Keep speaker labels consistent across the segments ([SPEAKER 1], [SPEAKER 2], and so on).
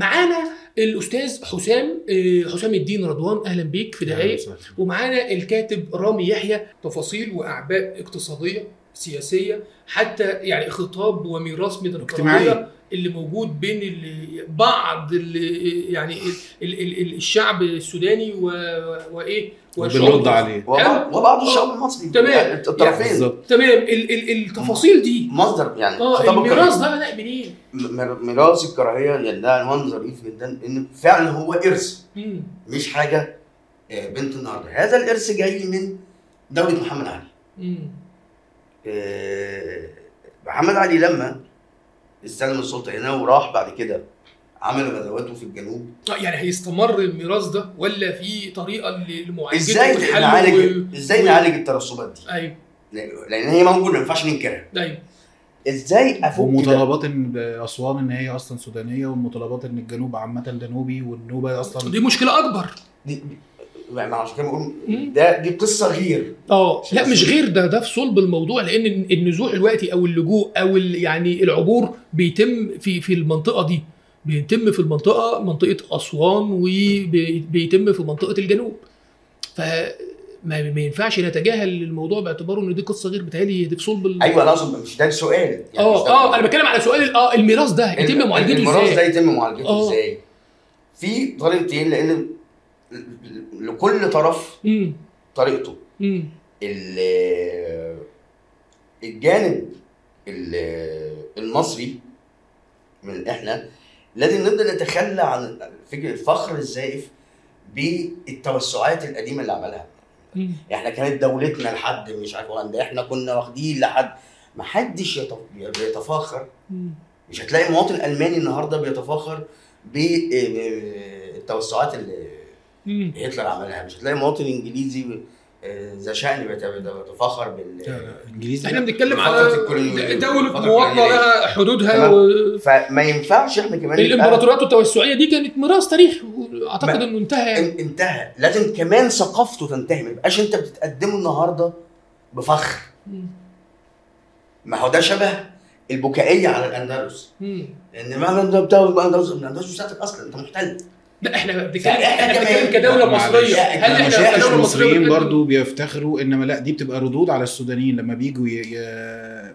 [SPEAKER 1] معانا الاستاذ حسام آه، حسام الدين رضوان اهلا بيك في
[SPEAKER 2] يعني
[SPEAKER 1] دقايق ومعانا الكاتب رامي يحيى تفاصيل واعباء اقتصاديه سياسيه حتى يعني خطاب وميراث من الكراهيه
[SPEAKER 2] اجتماعية.
[SPEAKER 1] اللي موجود بين ال- بعض ال- يعني ال- ال- ال- الشعب السوداني و- وايه
[SPEAKER 2] وبنرد عليه
[SPEAKER 1] يعني-
[SPEAKER 3] وبعض وبعض الشعب المصري
[SPEAKER 1] تمام.
[SPEAKER 3] يعني الطرفين
[SPEAKER 2] بالظبط
[SPEAKER 1] تمام ال- ال- التفاصيل دي
[SPEAKER 3] مصدر يعني
[SPEAKER 1] اه
[SPEAKER 3] خطاب الكراهية.
[SPEAKER 1] الميراث ده بدأ منين؟
[SPEAKER 3] م- م- ميراث الكراهيه يعني ده عنوان ظريف جدا ان فعلا هو ارث
[SPEAKER 1] مم.
[SPEAKER 3] مش حاجه آه، بنت النهارده هذا الارث جاي من دوله محمد علي
[SPEAKER 1] مم.
[SPEAKER 3] آه، محمد علي لما استلم السلطه هنا وراح بعد كده عمل غزواته في الجنوب
[SPEAKER 1] آه، يعني هيستمر الميراث ده ولا في طريقه ل- لمعالجته
[SPEAKER 3] ازاي
[SPEAKER 1] والحل
[SPEAKER 3] نعالج
[SPEAKER 1] و-
[SPEAKER 3] ازاي نعالج الترسبات دي
[SPEAKER 1] ايوه
[SPEAKER 3] لان هي موجوده ما ينفعش ننكرها
[SPEAKER 1] ايوه
[SPEAKER 3] ازاي افك ده؟
[SPEAKER 2] ومطالبات ان اسوان ان هي اصلا سودانيه ومطالبات ان الجنوب عامه دنوبي والنوبه اصلا
[SPEAKER 1] دي مشكله اكبر
[SPEAKER 3] دي ما عشان كده بقول
[SPEAKER 1] مم.
[SPEAKER 3] ده دي قصه غير
[SPEAKER 1] اه لا مش غير ده ده في صلب الموضوع لان النزوح الوقتي او اللجوء او ال- يعني العبور بيتم في في المنطقه دي بيتم في المنطقه منطقه اسوان وبيتم في منطقه الجنوب ف ما ما ينفعش نتجاهل الموضوع باعتباره ان دي قصه غير بتهيألي دي في صلب ال-
[SPEAKER 3] ايوه انا اقصد مش ده السؤال يعني مش
[SPEAKER 1] اه
[SPEAKER 3] ده-
[SPEAKER 1] اه انا بتكلم على سؤال اه الميراث ده يتم
[SPEAKER 3] الم-
[SPEAKER 1] معالجته
[SPEAKER 3] الميراث ده
[SPEAKER 1] ازاي؟
[SPEAKER 3] يتم معالجته
[SPEAKER 1] آه.
[SPEAKER 3] ازاي؟ في طريقتين لان لكل طرف
[SPEAKER 1] امم
[SPEAKER 3] طريقته
[SPEAKER 1] امم
[SPEAKER 3] ال- الجانب ال- المصري من احنا لازم نبدا نتخلى عن فكره الفخر الزائف بالتوسعات القديمه اللي عملها
[SPEAKER 1] مم.
[SPEAKER 3] احنا كانت دولتنا لحد مش عارف ده احنا كنا واخدين لحد ما حدش يتف- بيتفاخر
[SPEAKER 1] مم.
[SPEAKER 3] مش هتلاقي مواطن الماني النهارده بيتفاخر بالتوسعات اللي
[SPEAKER 1] مم.
[SPEAKER 3] هتلر عملها مش هتلاقي مواطن انجليزي ب- آه، ذا شأن بيت- بيتفاخر بال
[SPEAKER 2] انجليزي
[SPEAKER 1] احنا بنتكلم
[SPEAKER 3] فترة
[SPEAKER 1] على
[SPEAKER 3] الكولونيال-
[SPEAKER 1] دولة
[SPEAKER 3] فترة
[SPEAKER 1] مواطنة
[SPEAKER 3] الكولونيالية.
[SPEAKER 1] لها حدودها
[SPEAKER 3] تمام.
[SPEAKER 1] و...
[SPEAKER 3] فما ينفعش احنا كمان نبقى-
[SPEAKER 1] الامبراطوريات التوسعيه دي كانت ميراث تاريخي اعتقد
[SPEAKER 3] ما-
[SPEAKER 1] انه انتهى يعني
[SPEAKER 3] ان- انتهى لازم كمان ثقافته تنتهي ما يبقاش انت بتتقدمه النهارده بفخر
[SPEAKER 1] مم.
[SPEAKER 3] ما هو ده شبه البكائيه على الاندلس
[SPEAKER 1] مم.
[SPEAKER 3] ان معنى انت بتاع الاندلس الاندلس بتاعتك اصلا انت محتل
[SPEAKER 1] لا احنا بنتكلم
[SPEAKER 3] فإحنا
[SPEAKER 1] احنا
[SPEAKER 3] كمان- يعني
[SPEAKER 1] بنتكلم كدوله
[SPEAKER 2] معلش.
[SPEAKER 1] مصريه هل
[SPEAKER 3] إحنا
[SPEAKER 1] احنا
[SPEAKER 3] مش-
[SPEAKER 2] مش
[SPEAKER 3] إحنا
[SPEAKER 1] كدوله مصريه
[SPEAKER 2] المصريين
[SPEAKER 1] بنتكلم-
[SPEAKER 2] برضو بيفتخروا انما لا دي بتبقى ردود على السودانيين لما بيجوا ي-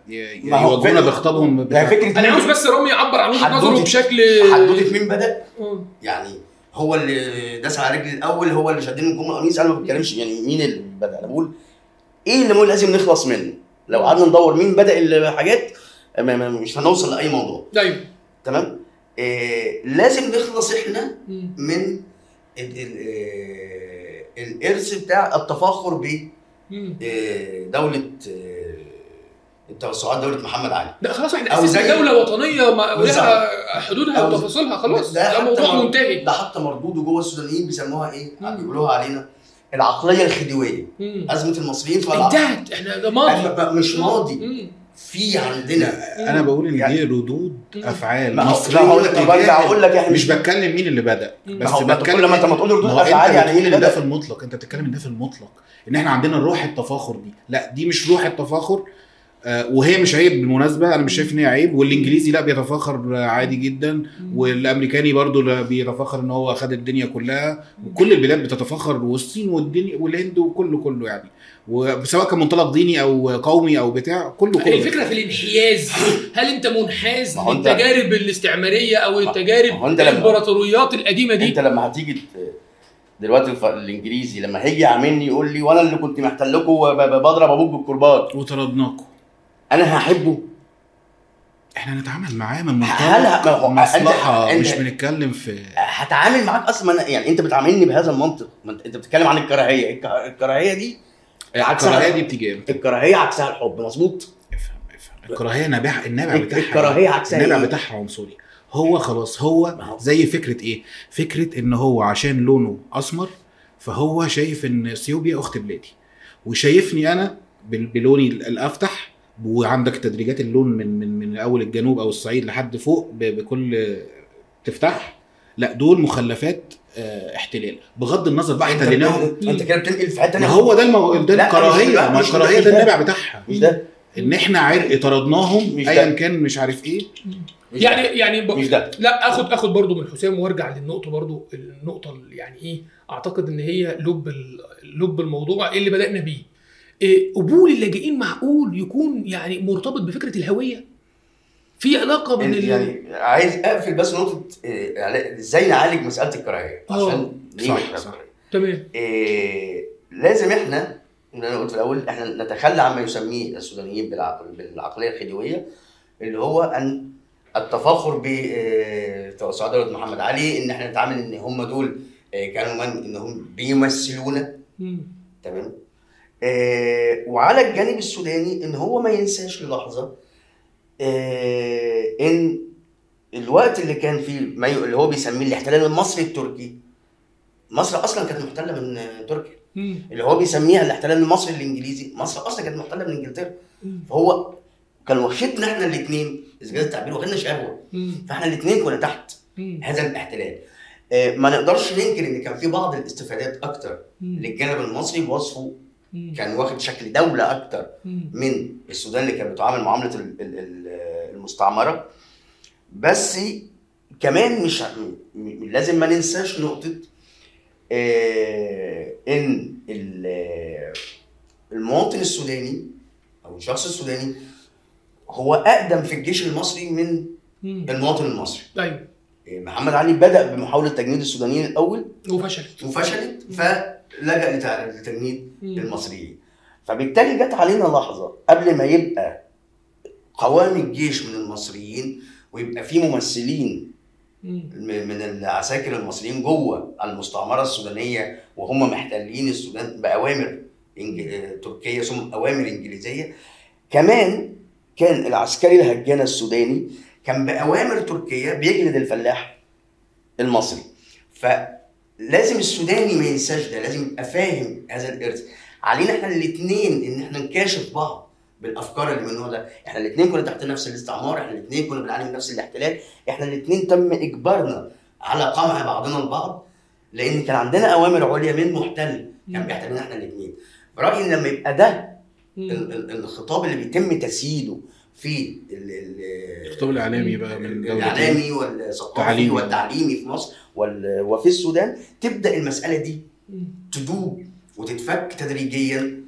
[SPEAKER 2] ي- ي-
[SPEAKER 3] ما هو
[SPEAKER 2] يواجهونا
[SPEAKER 3] فكرة-
[SPEAKER 2] بخطابهم
[SPEAKER 3] ده
[SPEAKER 2] بتاع-
[SPEAKER 3] فكره
[SPEAKER 1] انا
[SPEAKER 3] مين-
[SPEAKER 1] عاوز بس رامي يعبر عن وجهه
[SPEAKER 3] حدوتة-
[SPEAKER 1] نظره بشكل
[SPEAKER 3] حدوته مين بدا
[SPEAKER 1] آه.
[SPEAKER 3] يعني هو اللي داس على رجلي الاول هو اللي شدني من كم القميص انا ما بتكلمش يعني مين اللي بدا انا بقول ايه اللي مو لازم نخلص منه لو قعدنا ندور مين بدا الحاجات ما- ما- مش هنوصل لاي موضوع
[SPEAKER 1] ايوه
[SPEAKER 3] تمام إيه لازم نخلص احنا
[SPEAKER 1] مم.
[SPEAKER 3] من ال- ال- إيه، الارث بتاع التفاخر ب
[SPEAKER 1] مم.
[SPEAKER 3] إيه، دوله إيه، التوسعات دوله محمد علي
[SPEAKER 1] لا خلاص احنا
[SPEAKER 3] أو
[SPEAKER 1] اسسنا
[SPEAKER 3] زي-
[SPEAKER 1] دوله وطنيه ما- ولها
[SPEAKER 3] بالظبط.
[SPEAKER 1] حدودها
[SPEAKER 3] أو-
[SPEAKER 1] وتفاصيلها خلاص
[SPEAKER 3] ده
[SPEAKER 1] ده
[SPEAKER 3] حتى
[SPEAKER 1] موضوع
[SPEAKER 3] مر-
[SPEAKER 1] منتهي
[SPEAKER 3] ده حتى مردوده جوه السودانيين بيسموها ايه؟
[SPEAKER 1] مم.
[SPEAKER 3] بيقولوها علينا العقليه الخديويه
[SPEAKER 1] مم.
[SPEAKER 3] ازمه المصريين في العقل.
[SPEAKER 1] انتهت احنا ده ماضي
[SPEAKER 3] أما مش ماضي
[SPEAKER 1] مم.
[SPEAKER 3] في عندنا
[SPEAKER 2] انا بقول ان دي
[SPEAKER 3] يعني-
[SPEAKER 2] ردود افعال
[SPEAKER 3] ما هو-
[SPEAKER 2] مصريين
[SPEAKER 3] لا، هقول لك- طب أرجع أقول لك إحنا-
[SPEAKER 2] مش بتكلم مين اللي بدا
[SPEAKER 1] مم.
[SPEAKER 2] بس
[SPEAKER 3] ما هو ما
[SPEAKER 2] بتكلم
[SPEAKER 3] تقول لما انت ما تقول ردود
[SPEAKER 2] ما هو انت
[SPEAKER 3] افعال يعني
[SPEAKER 2] بتقول
[SPEAKER 3] ايه
[SPEAKER 2] ان ده
[SPEAKER 3] ده
[SPEAKER 2] في المطلق انت بتتكلم ان ده في المطلق ان احنا عندنا روح التفاخر دي لا دي مش روح التفاخر آه، وهي مش عيب بالمناسبه انا مش شايف ان هي عيب والانجليزي لا بيتفاخر آه، عادي جدا والامريكاني برضو لا بيتفاخر ان هو خد الدنيا كلها وكل البلاد بتتفاخر والصين والدنيا والهند وكله كله يعني وسواء كان منطلق ديني او قومي او بتاع كله كله
[SPEAKER 1] الفكره في الانحياز هل انت منحاز
[SPEAKER 3] ما هو أنت-
[SPEAKER 1] للتجارب الاستعماريه او
[SPEAKER 3] ما هو
[SPEAKER 1] التجارب
[SPEAKER 3] أنت لما-
[SPEAKER 1] الامبراطوريات القديمه دي
[SPEAKER 3] انت لما هتيجي ت- دلوقتي الف- الانجليزي لما هيجي يعاملني يقول لي وانا اللي كنت محتلكم وبضرب ابوك بالكرباج
[SPEAKER 2] وطردناكم
[SPEAKER 3] انا هحبه
[SPEAKER 2] احنا نتعامل معاه من
[SPEAKER 3] هل
[SPEAKER 2] منطلق
[SPEAKER 3] ه- ما هو أنت-
[SPEAKER 2] مصلحه
[SPEAKER 3] أنت-
[SPEAKER 2] مش بنتكلم في
[SPEAKER 3] هتعامل معاك اصلا ما أنا- يعني انت بتعاملني بهذا المنطق ما انت انت بتتكلم عن الكراهيه الك- الكراهيه دي عكسها.
[SPEAKER 2] الكراهيه دي بتيجي امتى؟
[SPEAKER 3] الكراهيه عكسها الحب مظبوط
[SPEAKER 2] افهم افهم الكراهيه نابعه النابع
[SPEAKER 3] الك-
[SPEAKER 2] بتاعها
[SPEAKER 3] الكراهيه عكسها
[SPEAKER 2] النابع
[SPEAKER 3] إيه؟
[SPEAKER 2] بتاعها عنصري هو خلاص هو
[SPEAKER 3] ما هو-
[SPEAKER 2] زي فكره ايه؟ فكره ان هو عشان لونه اسمر فهو شايف ان اثيوبيا اخت بلادي وشايفني انا بال- بلوني ال- الافتح وعندك تدريجات اللون من من من اول الجنوب او الصعيد لحد فوق ب- بكل تفتح لا دول مخلفات آه، احتلال بغض النظر بقى
[SPEAKER 3] انت
[SPEAKER 2] احتلناهم
[SPEAKER 3] انت كده بتنقل في حته
[SPEAKER 2] ما
[SPEAKER 3] تانيه
[SPEAKER 2] هو ده المو... ده
[SPEAKER 3] لا، مش
[SPEAKER 2] الكراهيه
[SPEAKER 3] ده،
[SPEAKER 2] ما
[SPEAKER 3] مش ده،
[SPEAKER 2] الكراهيه
[SPEAKER 3] مش
[SPEAKER 2] ده
[SPEAKER 3] ده.
[SPEAKER 2] النابع بتاعها
[SPEAKER 3] مش ده
[SPEAKER 2] ان احنا عرق طردناهم
[SPEAKER 3] مش
[SPEAKER 2] ايا
[SPEAKER 3] ده.
[SPEAKER 2] كان مش عارف ايه
[SPEAKER 1] يعني يعني ب...
[SPEAKER 3] مش ده
[SPEAKER 1] لا اخد اخد برضو من حسام وارجع للنقطه برضو النقطه اللي يعني ايه اعتقد ان هي لب ال- لب الموضوع اللي بدانا بيه إيه، قبول اللاجئين معقول يكون يعني مرتبط بفكره الهويه في علاقه بين
[SPEAKER 3] انت
[SPEAKER 1] ال-
[SPEAKER 3] يعني عايز اقفل بس نقطه إيه، عل- ازاي نعالج مساله الكراهيه
[SPEAKER 1] آه.
[SPEAKER 3] عشان ليه
[SPEAKER 2] صح،
[SPEAKER 3] إحنا
[SPEAKER 2] صح.
[SPEAKER 3] كراهية؟
[SPEAKER 1] تمام
[SPEAKER 3] إيه، لازم احنا اللي انا قلت في الاول احنا نتخلى عما يسميه السودانيين بالعقل بالعقليه الخديويه اللي هو ان التفاخر بتوسع دوله محمد علي ان احنا نتعامل ان هم دول إيه، كانوا من انهم بيمثلونا
[SPEAKER 1] مم.
[SPEAKER 3] تمام آه وعلى الجانب السوداني ان هو ما ينساش للحظه آه ان الوقت اللي كان فيه ما ي- اللي هو بيسميه الاحتلال المصري التركي مصر اصلا كانت محتله من آه، تركيا
[SPEAKER 1] مم.
[SPEAKER 3] اللي هو بيسميها الاحتلال المصري الانجليزي مصر اصلا كانت محتله من انجلترا
[SPEAKER 1] مم.
[SPEAKER 3] فهو كان واخدنا احنا الاثنين اذا كان التعبير واخدنا شهوه
[SPEAKER 1] مم.
[SPEAKER 3] فاحنا الاثنين كنا تحت
[SPEAKER 1] مم.
[SPEAKER 3] هذا الاحتلال آه، ما نقدرش ننكر ان كان في بعض الاستفادات اكتر
[SPEAKER 1] مم.
[SPEAKER 3] للجانب المصري بوصفه
[SPEAKER 1] مم.
[SPEAKER 3] كان واخد شكل دوله اكتر
[SPEAKER 1] مم.
[SPEAKER 3] من السودان اللي كان بتعامل معامله ال- ال- ال- المستعمره بس كمان مش م- م- لازم ما ننساش نقطه آه، ان ال- المواطن السوداني او الشخص السوداني هو اقدم في الجيش المصري من
[SPEAKER 1] مم.
[SPEAKER 3] المواطن المصري
[SPEAKER 1] ايوه
[SPEAKER 3] آه، محمد علي بدا بمحاوله تجنيد السودانيين الاول
[SPEAKER 1] وفشلت
[SPEAKER 3] وفشلت فلجا لتع- لتجنيد
[SPEAKER 1] مم.
[SPEAKER 3] للمصريين فبالتالي جت علينا لحظه قبل ما يبقى قوام الجيش من المصريين ويبقى في ممثلين
[SPEAKER 1] مم.
[SPEAKER 3] م- من العساكر المصريين جوه المستعمره السودانيه وهم محتلين السودان باوامر إنج- تركيه ثم اوامر انجليزيه كمان كان العسكري الهجان السوداني كان باوامر تركيه بيجلد الفلاح المصري فلازم السوداني ما ينساش ده لازم يبقى فاهم هذا الارث علينا احنا الاثنين ان احنا نكاشف بعض بالافكار اللي من النوع ده احنا الاثنين كنا تحت نفس الاستعمار احنا الاثنين كنا بنعاني من نفس الاحتلال احنا الاثنين تم اجبارنا على قمع بعضنا البعض لان كان عندنا اوامر عليا من محتل كان بيحتلنا احنا الاثنين برايي ان لما يبقى ده
[SPEAKER 1] مم.
[SPEAKER 3] ال- ال- الخطاب اللي بيتم تسييده في ال- ال-
[SPEAKER 2] الخطاب الاعلامي بقى من دولة
[SPEAKER 3] الاعلامي والثقافي
[SPEAKER 2] تعليمي.
[SPEAKER 3] والتعليمي في مصر وال- وفي السودان تبدا المساله دي
[SPEAKER 1] مم.
[SPEAKER 3] تدوب وتتفك تدريجيا